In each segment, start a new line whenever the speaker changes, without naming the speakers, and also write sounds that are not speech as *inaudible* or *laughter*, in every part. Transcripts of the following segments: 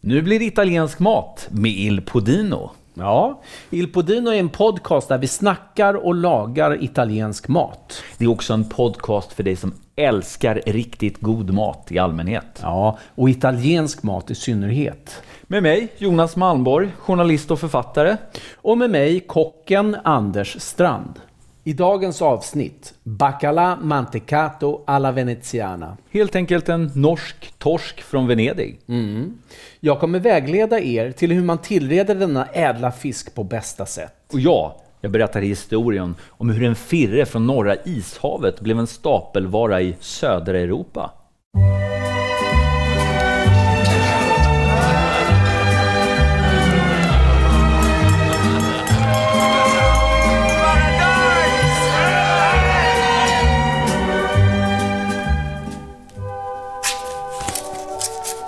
Nu blir det italiensk mat med Il Podino.
Ja, Il Podino är en podcast där vi snackar och lagar italiensk mat.
Det är också en podcast för dig som älskar riktigt god mat i allmänhet.
Ja, och italiensk mat i synnerhet.
Med mig, Jonas Malmborg, journalist och författare.
Och med mig kocken Anders Strand. I dagens avsnitt, Baccalà mantecato alla veneziana.
Helt enkelt en norsk torsk från Venedig.
Jag kommer vägleda er till hur man tillreder denna ädla fisk på bästa sätt.
Och ja, jag berättar historien om hur en firre från norra ishavet blev en stapelvara i södra Europa.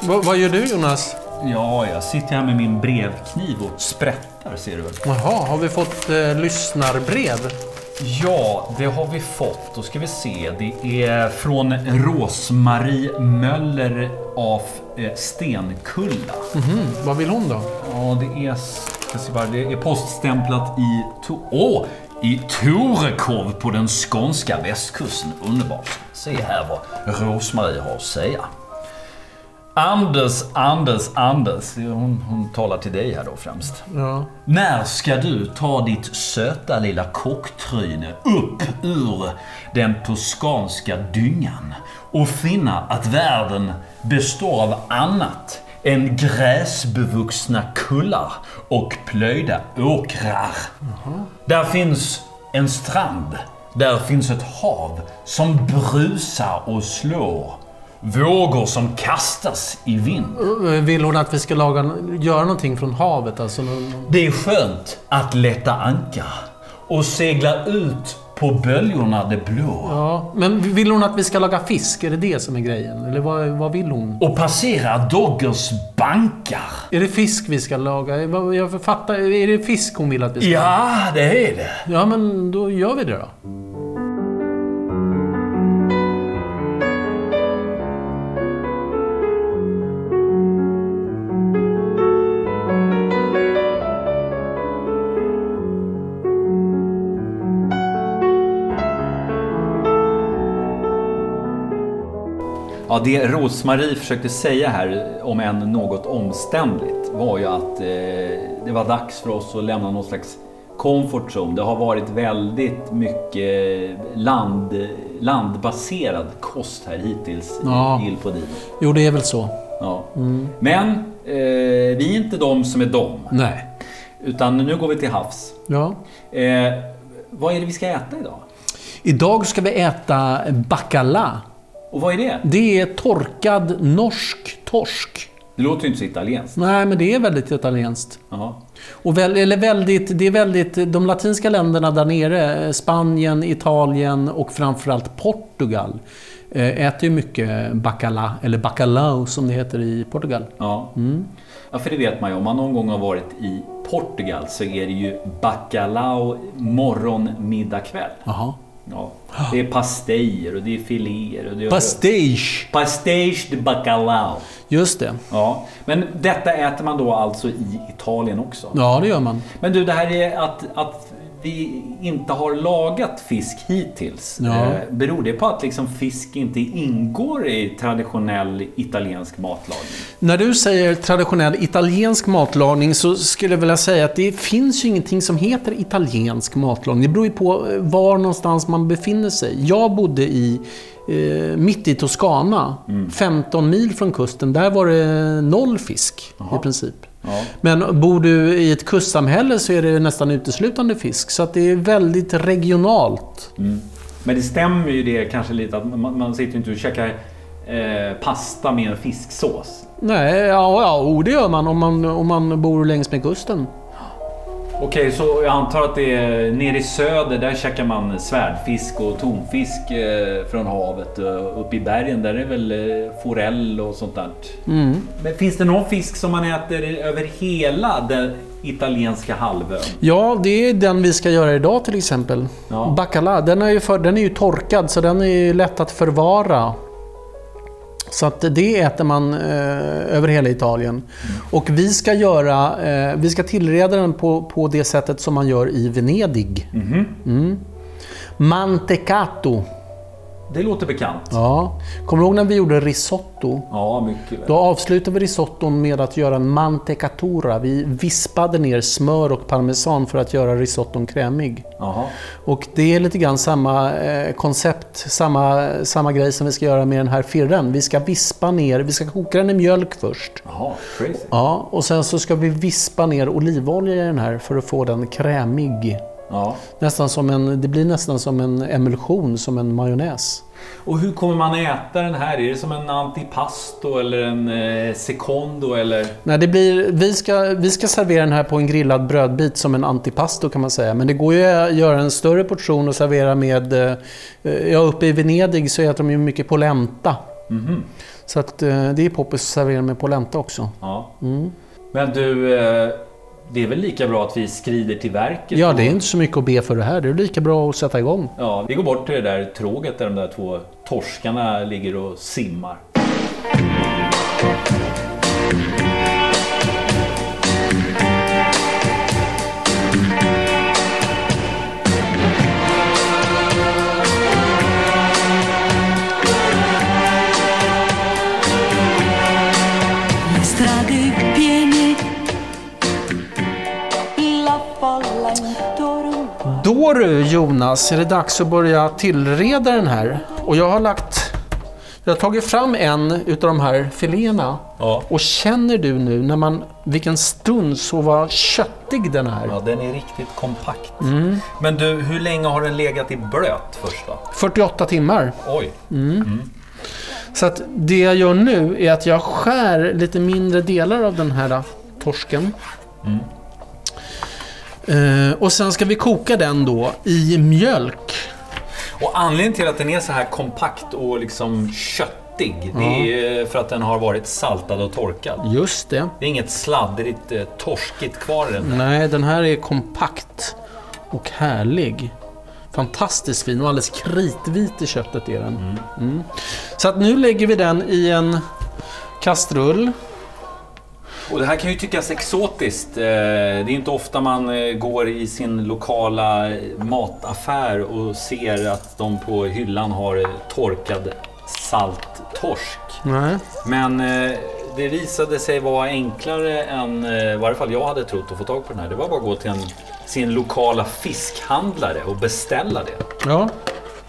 vad gör du Jonas?
Ja, jag sitter här med min brevkniv och sprättar ser du väl.
Jaha, har vi fått eh, lyssnarbrev?
Ja, det har vi fått. Då ska vi se. Det är från Rosmarie Möller av eh, Stenkulla.
Mm, vad vill hon då?
Ja, det är, jag ska bara, det är poststämplat i, to, åh, i Torekov på den skånska västkusten. Underbart. Se här vad Rosmarie har att säga. Anders, Anders, Anders. Det är Hon, hon talar till dig här då främst.
Ja.
När ska du ta ditt söta lilla kocktryne upp ur den toskanska dyngan och finna att världen består av annat än gräsbevuxna kullar och plöjda åkrar? Där finns en strand, där finns ett hav som brusar och slår. Vågor som kastas i vind.
Eh, Vill hon att vi ska laga, göra någonting från havet? Alltså, någon-
Det är skönt att lätta anka och segla ut på böljorna det blå
ja. Men vill hon att vi ska laga fisk? Är det det som är grejen? Eller vad, vad vill hon?
och passera Doggers bankar. Är
Är det fisk vi ska laga? Eh, vad- Jag fattar. Är det fisk hon vill att
det-
vi ska
Ja, det är det.
Ja, men då gör vi det då.
Ja, det Rosmarie försökte säga här, om än något omständligt, var ju att eh, det var dags för oss att lämna någon slags comfort zone. Det har varit väldigt mycket land, landbaserad kost här hittills
Ja.
i Il Podino.
Jo, det är väl så.
Ja. Men eh, vi är inte de som är de.
Nej.
Utan nu går vi till havs.
Ja.
Eh, vad är det vi ska äta idag?
Idag ska vi äta baccalà.
Och vad är det?
Det är torkad norsk torsk.
Det låter ju inte så italienskt.
Nej, men det är väldigt italienskt.
Jaha.
Och väl, eller väldigt, det är väldigt, de latinska länderna där nere, eh, Spanien, Italien och framförallt Portugal, eh, äter ju mycket bacalá, eller bacalao som det heter i Portugal.
Ja. ja, för det vet man ju. Om man någon gång har varit i Portugal så är det ju bacalao morgon, middag, kväll.
Jaha.
Ja. Det är pastejer och det är filéer. Och det är
Pastéis.
Pastéis de bacalao.
Just det.
Ja. Men detta äter man då alltså i Italien också?
Ja, det gör man.
Men du, det här är att, att vi inte har lagat fisk hittills.
Ja.
Eh, Beror det på att liksom fisk inte ingår i traditionell italiensk matlagning?
När du säger traditionell italiensk matlagning så skulle jag vilja säga att det finns ju ingenting som heter italiensk matlagning. Det beror ju på eh, var någonstans man befinner sig. Jag bodde i eh, mitt i Toscana, 15 mil från kusten. Där var det noll fisk i princip.
Ja.
Men bor du i ett kustsamhälle så är det nästan uteslutande fisk. Så att det är väldigt regionalt.
Men det stämmer ju det kanske lite att man, man sitter ju inte och käkar eh, pasta med en fisksås.
Nej, ja, ja oh, det gör man om, man om man bor längs med kusten.
Okej, så jag antar att det är nere i söder, där käkar man svärdfisk och tonfisk eh, från havet. Och Uppe i bergen, där är det väl eh, forell och sånt där. Men finns det någon fisk som man äter över hela den italienska halvön?
Ja, det är den vi ska göra idag till exempel.
Ja.
Baccalà, den är, ju för, den är ju torkad så den är ju lätt att förvara. Så att det äter man eh, över hela Italien. Och vi ska, göra, eh, vi ska tillreda den på, på det sättet som man gör i Venedig. Mm. Mantecato.
Det låter bekant.
Ja. Kommer du ihåg när vi gjorde risotto?
Ja, mycket väl.
Då avslutade vi risotton med att göra en mantecatura. Vi vispade ner smör och parmesan för att göra risotton krämig.
Jaha.
Och det är lite grann samma eh, koncept, samma, samma grej som vi ska göra med den här firren. Vi ska vispa ner, vi ska koka den i mjölk först.
Jaha, crazy.
Ja, och sen så ska vi vispa ner olivolja i den här för att få den krämig.
Ja.
Nästan som en, det blir nästan som en emulsion, som en majonnäs.
Och hur kommer man äta den här? Är det som en antipasto eller en eh, secondo eller?
Nej, det blir, vi, ska, vi ska servera den här på en grillad brödbit som en antipasto kan man säga. Men det går ju att göra en större portion och servera med... eh, Ja, uppe i Venedig så äter de ju mycket polenta. Så att, eh, det är poppis att servera med polenta också.
Ja.
Mm.
Men du, eh, det är väl lika bra att vi skrider till verket?
Ja,
och-
det är inte så mycket att be för det här. Det är lika bra att sätta igång.
Ja, vi går bort till det där tråget där de där två torskarna ligger och simmar.
Le strade piene, la folla intorno.
Då du Jonas, är det dags att börja tillreda den här. Och jag har lagt... Jag har tagit fram en utav de här filéerna.
Ja.
Och känner du nu när man, vilken stund så vad köttig den är.
Ja, den är riktigt kompakt.
Mm.
Men du, hur länge har den legat i blöt först då?
48 timmar.
Oj.
Mm. Så att det jag gör nu är att jag skär lite mindre delar av den här äh, torsken. Mm. Eh, och sen ska vi koka den då i mjölk.
Och anledningen till att den är så här kompakt och liksom köttig, det är för att den har varit saltad och torkad.
Just det.
Det är inget sladdrigt, eh, torskigt kvar i den.
Nej, den här är kompakt och härlig. Fantastiskt fin och alldeles kritvit i köttet är den. Mm. Så att nu lägger vi den i en kastrull.
Och det här kan ju tyckas exotiskt. Eh, Det är inte ofta man eh, går i sin lokala eh, mataffär och ser att de på hyllan har eh, torkad salttorsk.
Nej.
Men eh, det visade sig vara enklare än eh, i varje fall jag hade trott att få tag på den här. Det var bara att gå till en, sin lokala fiskhandlare och beställa det.
Ja.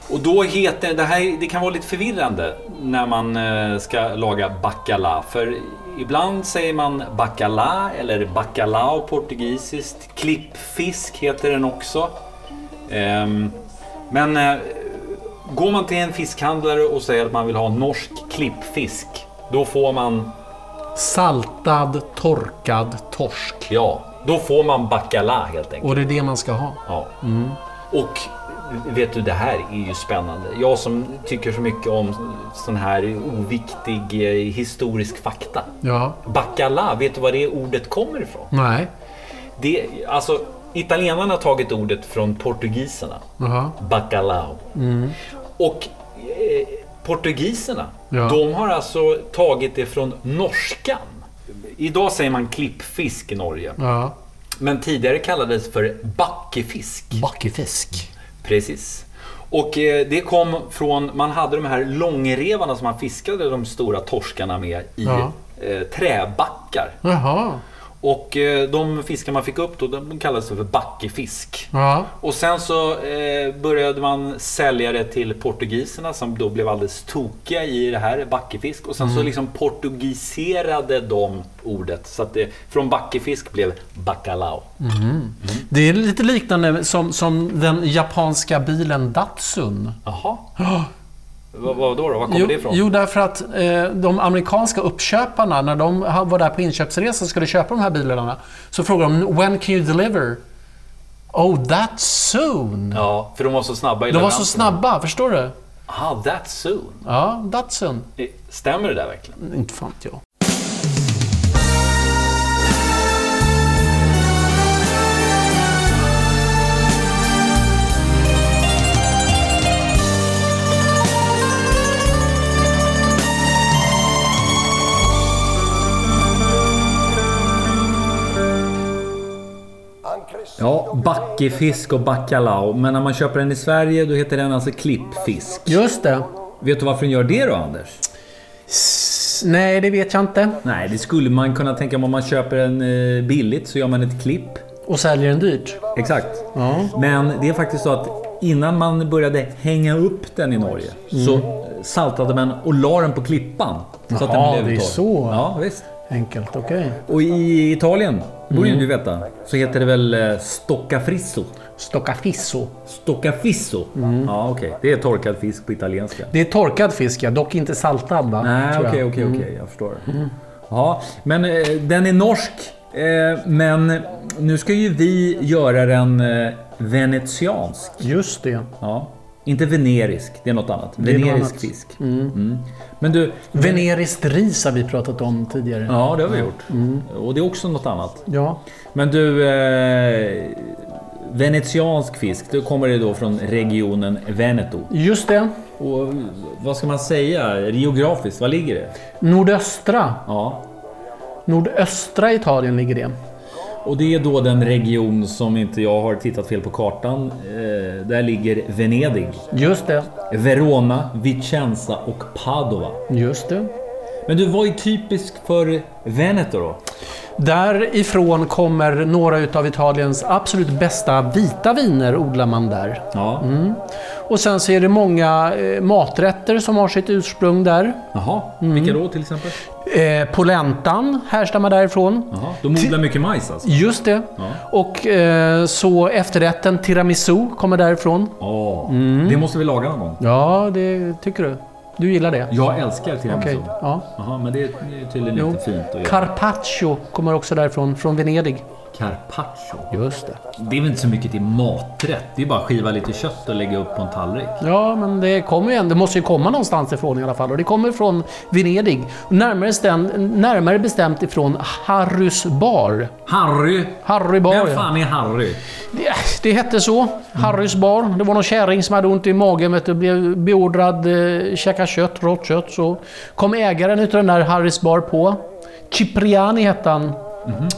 Och då heter det här, det kan vara lite förvirrande när man eh, ska laga bacala. För ibland säger man bacala eller bacalao portugisiskt. Klippfisk heter den också. Ehm, men eh, går man till en fiskhandlare och säger att man vill ha norsk klippfisk, då får man,
Saltad, torkad torsk.
ja, då får man bacala helt enkelt.
Och det är det man ska ha.
Ja. Och vet du, det här är ju spännande. Jag som tycker så mycket om sån här oviktig eh, historisk fakta.
Ja.
Bacala, vet du var det ordet kommer ifrån?
Nej.
Det, alltså, italienarna har tagit ordet från portugiserna.
Jaha.
Bacalao. Och eh, portugiserna,
Ja.
de har alltså tagit det från norskan. Idag säger man klippfisk i Norge,
Ja.
men tidigare kallades det för backefisk.
Backefisk.
Precis. Och eh, det kom från, man hade de här långrevarna som man fiskade de stora torskarna med i
Ja.
eh, träbackar.
Jaha.
Och eh, de fiskar man fick upp då, de kallades för backefisk.
Ja.
Och sen så eh, började man sälja det till portugiserna som då blev alldeles tokiga i det här, backefisk. Och sen
Mm.
så liksom portugiserade de ordet. Så att det från backefisk blev bacalao.
Mm. Det är lite liknande som, som den japanska bilen Datsun. *gasps*
Jaha. Vad, vad då, då? Var kommer
Jo,
det ifrån?
jo, därför att eh, de amerikanska uppköparna, när de ha- var där på inköpsresa och skulle köpa de här bilarna, så frågade de “When can you deliver?” “Oh, that soon!”
Ja, för de var så snabba i
De var
leveransen.
så snabba, förstår du?
Ah, that soon.
Ja, Datsun.
Eh, Stämmer det där verkligen?
Inte fan vet jag.
Ja, backefisk och bacalao. Men när man köper den i Sverige då heter den alltså klippfisk.
Just det.
Vet du varför den gör det då, Anders?
S- Nej, det vet jag inte.
Nej, det skulle man kunna tänka om om man köper den eh, billigt så gör man ett klipp.
Och säljer den dyrt.
Exakt. Men det är faktiskt så att innan man började hänga upp den i Norge
Mm.
så eh, saltade man och la den på klippan. Så att
Jaha,
den blev
det
torr.
är så.
Ja, visst.
Enkelt, okej.
Och i Italien, borde ju du veta, så heter det väl eh, stoccafrisso. Mm.
Stoccafisso.
Stoccafisso? Ja, okej. Det är torkad fisk på italienska.
Det är torkad fisk, ja. Dock inte saltad, va?
Nej,
Tror jag.
Ah, okej, okej, okej. Jag förstår. Ja, men eh, den är norsk. Eh, men nu ska ju vi göra den eh, venetiansk.
Just det.
Ja. Inte venerisk, det är något annat.
är något
Venerisk
annat.
fisk. Mm. Men du...
Veneriskt ris har vi pratat om tidigare.
Ja, Mm. det har vi gjort. Och det är också något annat.
Ja.
Men du... Eh, venetiansk fisk, då kommer det då från regionen Veneto.
Just det.
Och vad ska man säga geografiskt? Var ligger det?
Nordöstra.
Ja,
Nordöstra Italien ligger det.
Och det är då den region som inte jag har tittat fel på kartan. Eh, där ligger Venedig,
Just det.
Verona, Vicenza och Padova.
Just det.
Men du, vad är typiskt för Veneto då?
Därifrån kommer några utav Italiens absolut bästa vita viner odlar man där.
Ja.
Och sen så är det många eh, maträtter som har sitt ursprung där.
Jaha, vilka då till exempel?
Eh, polentan härstammar därifrån.
Jaha. De odlar mycket majs alltså?
Just det. Och eh, så efterrätten tiramisu kommer därifrån.
Ja, det måste vi laga någon gång.
Ja, det tycker du. Du gillar det?
Jag älskar tiramisu.
Okej. Ja.
Jaha, men det är tydligen
Jo.
inte fint att göra.
Carpaccio kommer också därifrån, från Venedig.
Carpaccio.
Just det.
Det är väl inte så mycket till maträtt? Det är bara att skiva lite kött och lägga upp på en tallrik.
Ja, men det kommer ju ändå, det måste ju komma någonstans ifrån i alla fall. Och det kommer från Venedig. Närmare, ständ, närmare bestämt ifrån Harrys bar.
Harry!
Harry bar,
Vem
ja.
fan är Harry?
det, det hette så. Harrys bar. Det var någon kärring som hade ont i magen vet du, blev beordrad eh, käka kött, rått kött. Så kom ägaren utav den där Harrys bar på. Cipriani hette han.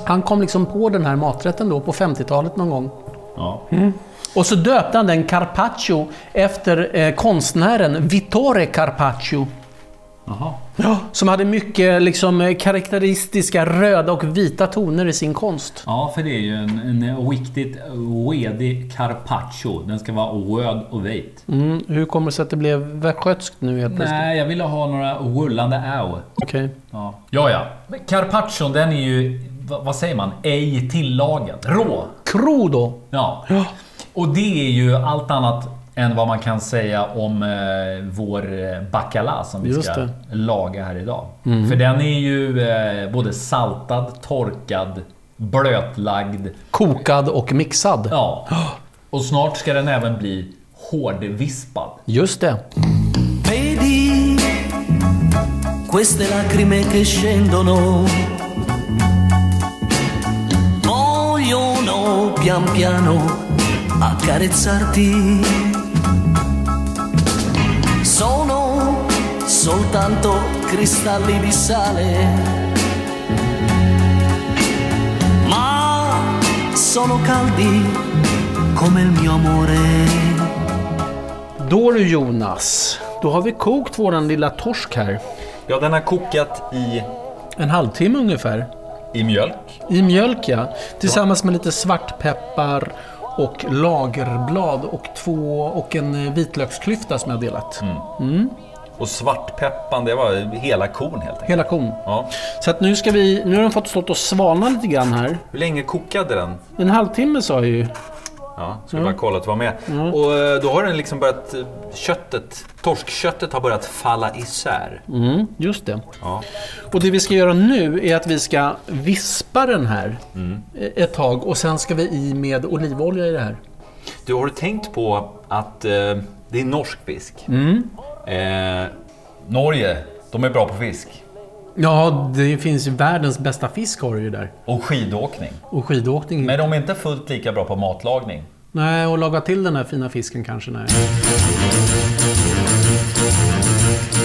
Han kom liksom på den här maträtten då på 50-talet någon gång.
Ja.
Mm. Och så döpte han den Carpaccio efter eh, konstnären Vittore Carpaccio.
Jaha.
Som hade mycket liksom, eh, karaktäristiska röda och vita toner i sin konst.
Ja, för det är ju en, en riktigt redig carpaccio. Den ska vara röd och vit.
Mm, hur kommer det sig att det blev västgötskt nu helt plötsligt?
Nej, jag ville ha några rullande ä.
Okej.
Ja, ja. ja. Men Carpaccion, den är ju... va- Vad säger man? Ej tillagad. Rå.
Crudo.
Ja. Och det är ju allt annat än vad man kan säga om eh, vår eh, bacala som vi
Just
ska
det. Mm.
laga här idag. För den är ju eh, både saltad, torkad, blötlagd.
Kokad och mixad. *gasps*
Ja. Och snart ska den även bli hårdvispad.
Just det.
Vedi queste lacrime che scendono, vogliono pian piano accarezzarti. Sono soltanto cristalli di sale, ma sono caldi come il mio amore.
Då du Jonas, då har vi kokt våran lilla torsk här.
Ja, den har kokat i,
En halvtimme ungefär.
i mjölk.
I mjölk ja. Tillsammans med lite svartpeppar och lagerblad och två och en eh, vitlöksklyfta som jag delat.
Mm. Och svartpeppan, det var hela korn helt enkelt.
Hela kon.
Ja.
Så att nu ska vi, nu har den fått stått och svalna lite grann här.
Hur länge kokade den?
En halvtimme sa jag ju.
Ja, skulle bara kolla att det var med. Och eh, då har den liksom börjat, eh, köttet, torskköttet har börjat falla isär.
Mm, just det.
Ja.
Och det vi ska göra nu är att vi ska vispa den här eh, ett tag och sen ska vi i med olivolja i det här.
Du, har du tänkt på att eh, det är norsk fisk? Eh, Norge, de är bra på fisk.
Ja, det finns ju världens bästa fisk har du ju där.
Och skidåkning.
Och skidåkning.
Men de är inte fullt lika bra på matlagning.
Nej, och laga till den här fina fisken kanske, nej.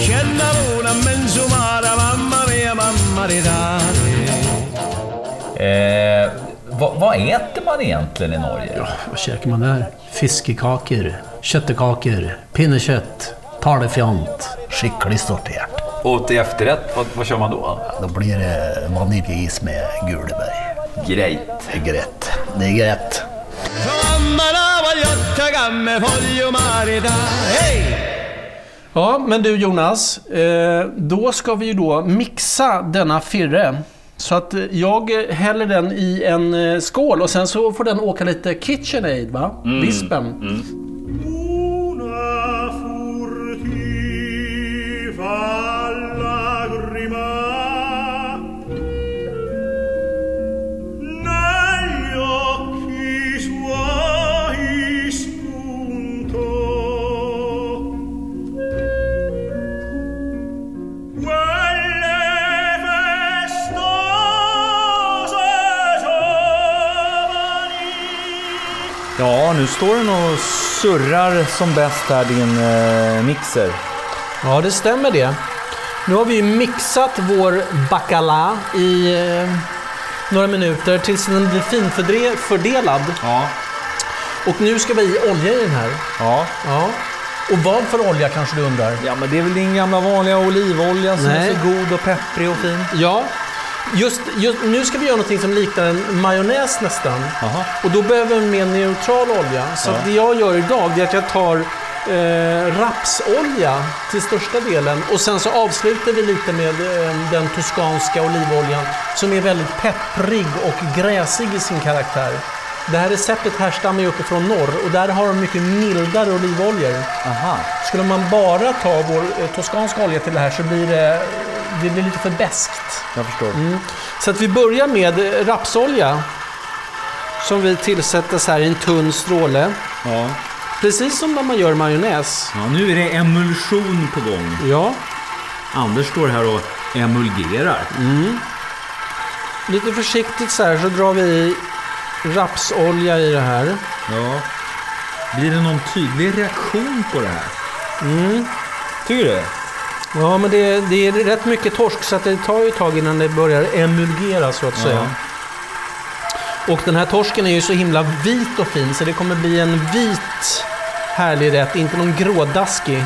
Källarona, mensomara, mamma mia, mamma di dare
Eh,
Vad, vad äter man egentligen i Norge?
Vad käkar man där? Fiskekakor, köttekakor, pinnekött, talefjant, skicklig sortert.
Och till efterrätt, vad, vad kör man då?
Då blir det vaniljis med gulebär.
Grejt.
Det är grätt. Det är grätt.
Ja, men du Jonas, eh, då ska vi ju då mixa denna firre. Så att eh, jag häller den i en eh, skål och sen så får den åka lite KitchenAid, va? Vispen.
Una furtiva lagrima negli occhi suoi spuntò. Quelle festose giovani
Ja, nu står den och surrar som bäst här, din eh, mixer.
Ja, det stämmer det. Nu har vi ju mixat vår bacala i eh, några minuter tills den blir finfördelad.
Ja.
Och nu ska vi i olja i den här.
Ja.
Ja. Och vad för olja kanske du undrar?
ja, men det är väl din gamla vanliga olivolja som
Nej.
är så god och pepprig och fin.
Ja. Just, just, nu ska vi göra någonting som liknar en majonnäs nästan.
Jaha.
Och då behöver vi en mer neutral olja. Så det jag gör idag det är att jag tar eh, rapsolja till största delen. Och sen så avslutar vi lite med eh, den toskanska olivoljan som är väldigt pepprig och gräsig i sin karaktär. Det här receptet härstammar ju uppifrån norr och där har de mycket mildare olivoljor.
Aha.
Skulle man bara ta vår eh, toskanska olja till det här så blir det, det blir lite för beskt.
Jag förstår.
Så att vi börjar med eh, rapsolja. Som vi tillsätter så här i en tunn stråle.
Ja.
Precis som när man gör majonnäs.
ja. Nu är det emulsion på gång.
Ja,
Anders står här och emulgerar.
lite försiktigt så här så drar vi i rapsolja i det här.
Ja. Blir det någon tydlig reaktion på det här? Mm. Tycker du?
Ja, men det, det är rätt mycket torsk så att det tar ju ett tag innan det börjar emulgera så att säga. Och den här torsken är ju så himla vit och fin så det kommer bli en vit härlig rätt, inte någon grådaskig.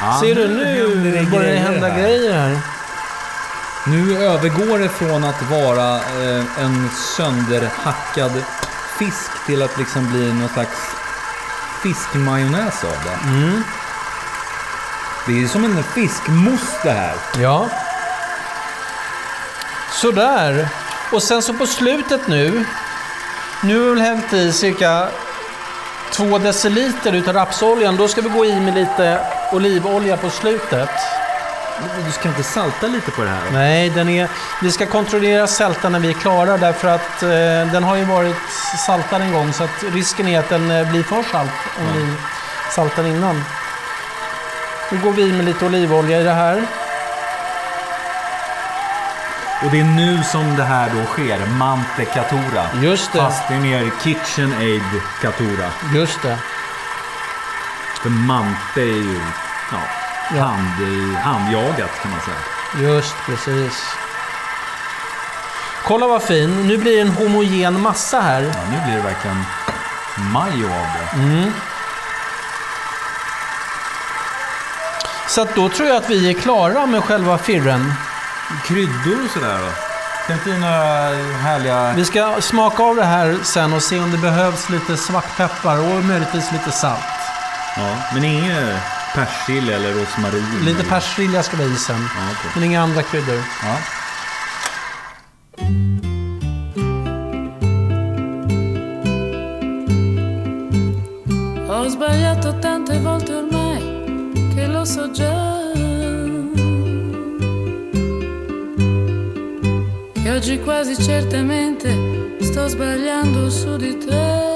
Ja,
Ser du nu
händer
börjar det
grejer
hända
här.
grejer här.
Nu övergår det från att vara eh, en sönderhackad fisk till att liksom bli någon slags fiskmajonnäs av det. Det är som en fiskmousse det här.
Ja. Sådär. Och sen så på slutet nu. Nu har vi väl hällt i cirka två deciliter utav rapsoljan. Då ska vi gå i med lite olivolja på slutet.
Du ska inte salta lite på det här?
Nej, den är, vi ska kontrollera sältan när vi är klara därför att eh, den har ju varit saltad en gång så att risken är att den eh, blir för salt om vi saltar innan. Nu går vi i med lite olivolja i det här.
Och det är nu som det här då sker. Mantecatura.
Just det,
Fast det är mer KitchenAid Katura.
just det.
För mante är ju ja, hand, handjagat kan man säga.
Just precis. Kolla vad fin. Nu blir det en homogen massa här.
Ja, nu blir det verkligen majo av det.
Så att då tror jag att vi är klara med själva firren.
Kryddor och sådär då? Ska inte i några härliga...
Vi ska smaka av det här sen och se om det behövs lite svartpeppar och möjligtvis lite salt.
Ja, men inget persilja eller rosmarin?
Lite
eller-
persilja ska vi i sen.
Ja, okej.
Men inga andra kryddor.
Ja.
Ho sbagliato tante volte ormai che lo so già. Che oggi quasi certamente sto sbagliando su di te.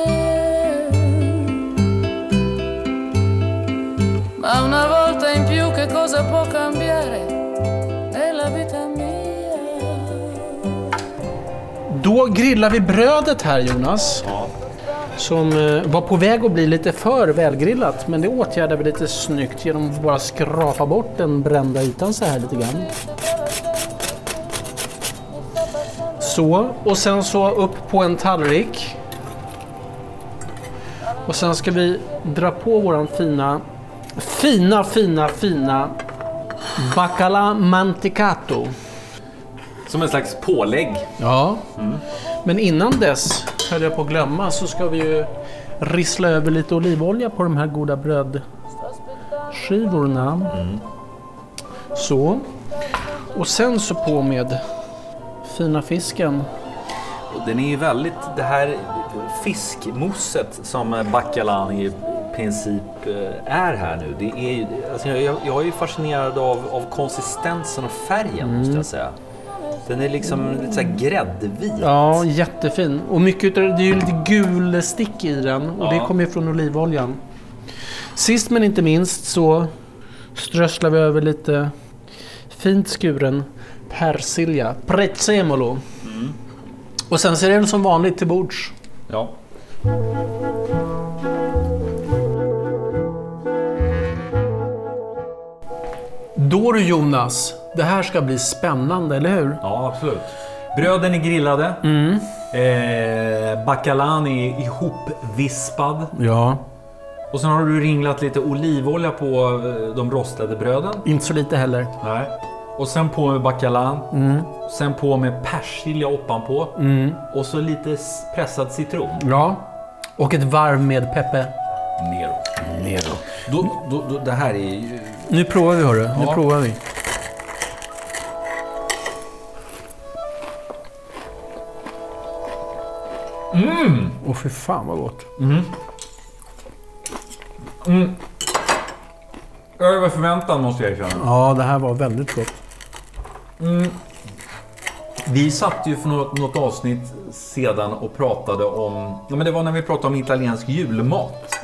Ma una volta in più che cosa può cambiare nella vita mia?
Då grillar vi brödet här Jonas. Som eh, var på väg att bli lite för välgrillat. Men det åtgärdar vi lite snyggt genom att bara skrapa bort den brända ytan så här lite grann. Så, och sen så upp på en tallrik. Och sen ska vi dra på våran fina, fina, fina, fina Bacala Manticato.
Som en slags pålägg.
Ja. Men innan dess, höll jag på att glömma, så ska vi ju rissla över lite olivolja på de här goda brödskivorna. Så. Och sen så på med fina fisken.
Och Den är ju väldigt, det här fiskmoset som Baccalan i princip eh, är här nu. Det är ju, alltså jag, jag- jag är ju fascinerad av, av konsistensen och färgen måste jag säga. Den är liksom lite såhär gräddvit.
Ja, jättefin. Och mycket utav det, det är ju lite gul stick i den och det kommer ju från olivoljan. Sist men inte minst så strösslar vi över lite fint skuren persilja, prezzemolo. Mm. Och sen ser den som vanligt till bords.
Ja.
Då du Jonas, det här ska bli spännande, eller hur?
Ja, absolut. Bröden är grillade. Mm. Eh, Baccalan är ihopvispad.
Ja.
Och sen har du ringlat lite olivolja på eh, de rostade bröden.
Inte så lite heller.
Nej. Mm. Och sen på med baccalan. Sen på med persilja ovanpå. Och så lite s- pressad citron.
Ja. Och ett varv med Peppe.
Nero. Nero. Då, då, då, det här är ju...
Nu provar vi hörru. Nu provar vi. Åh fy fan vad gott.
Över förväntan måste jag erkänna.
Ja, det här var väldigt gott.
Vi satt ju för något, något avsnitt sedan och pratade om... Ja, men det var när vi pratade om italiensk julmat.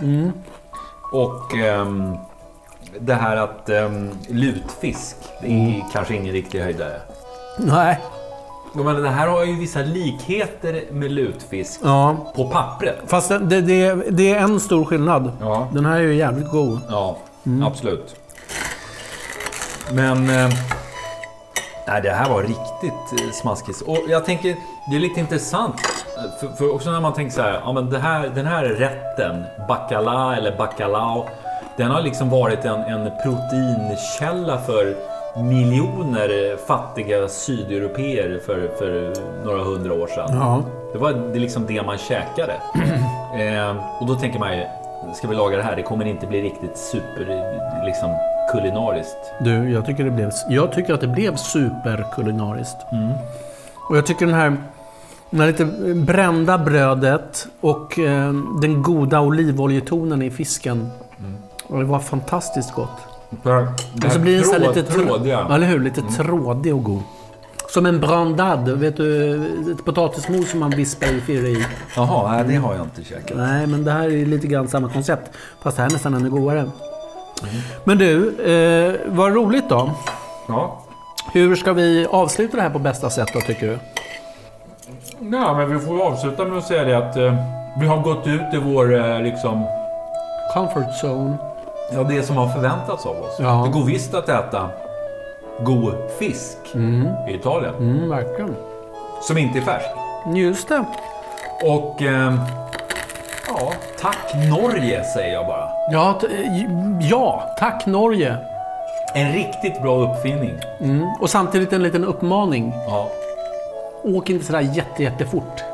Och ehm, det här att ehm, lutfisk, det är kanske ingen riktig höjdare.
Nej.
Ja, men det här har ju vissa likheter med lutfisk
Ja.
på pappret.
Fast det, det, det, det är en stor skillnad.
Ja.
Den här är ju jävligt god.
Ja, absolut. Men... Eh, nej, det här var riktigt eh, smaskigt. Och jag tänker, det är lite intressant. eh, För, för också när man tänker så här, ja, men det här, den här rätten, bacala eller bacalao, den har liksom varit en, en proteinkälla för miljoner fattiga sydeuropeer för, för några hundra år sedan.
Ja.
Det var det är liksom det man *clears throat* käkade. eh, och då tänker man ju, ska vi laga det här? Det kommer inte bli riktigt super liksom, kulinariskt.
Du, jag tycker, det blev, jag tycker att det blev superkulinariskt. Och jag tycker den här, den här lite brända brödet och eh, den goda olivoljetonen i fisken. Och det var fantastiskt gott.
Det här, det
Och så blir den så här
tråd-
lite, tr-
trådiga.
ja, eller hur? lite trådig och god. Som en brandad, vet du, ett potatismos som man vispar i fyra i.
Jaha, nej, det har jag inte käkat.
Nej, men det här är lite grann samma koncept. Fast det här är nästan ännu godare. Men du, eh, vad roligt då.
Ja.
Hur ska vi avsluta det här på bästa sätt då tycker du?
ja, men vi får ju avsluta med att säga det att eh, vi har gått ut i vår eh, liksom...
Comfort zone.
Ja, det som har förväntats av oss.
Ja.
Det går visst att äta god fisk i Italien,
Mm, verkligen.
som inte är färsk.
Just det.
Och ehm, ja, tack Norge säger jag bara.
Ja, t- eh, ja, tack Norge.
En riktigt bra uppfinning.
Och samtidigt en liten uppmaning.
Ja.
Åk inte sådär jätte, jättefort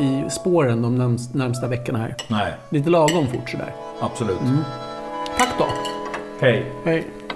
i spåren de närms- närmsta veckorna här.
Nej,
Lite lagom fort sådär.
absolut.
Tack då.
Hej.
Hej.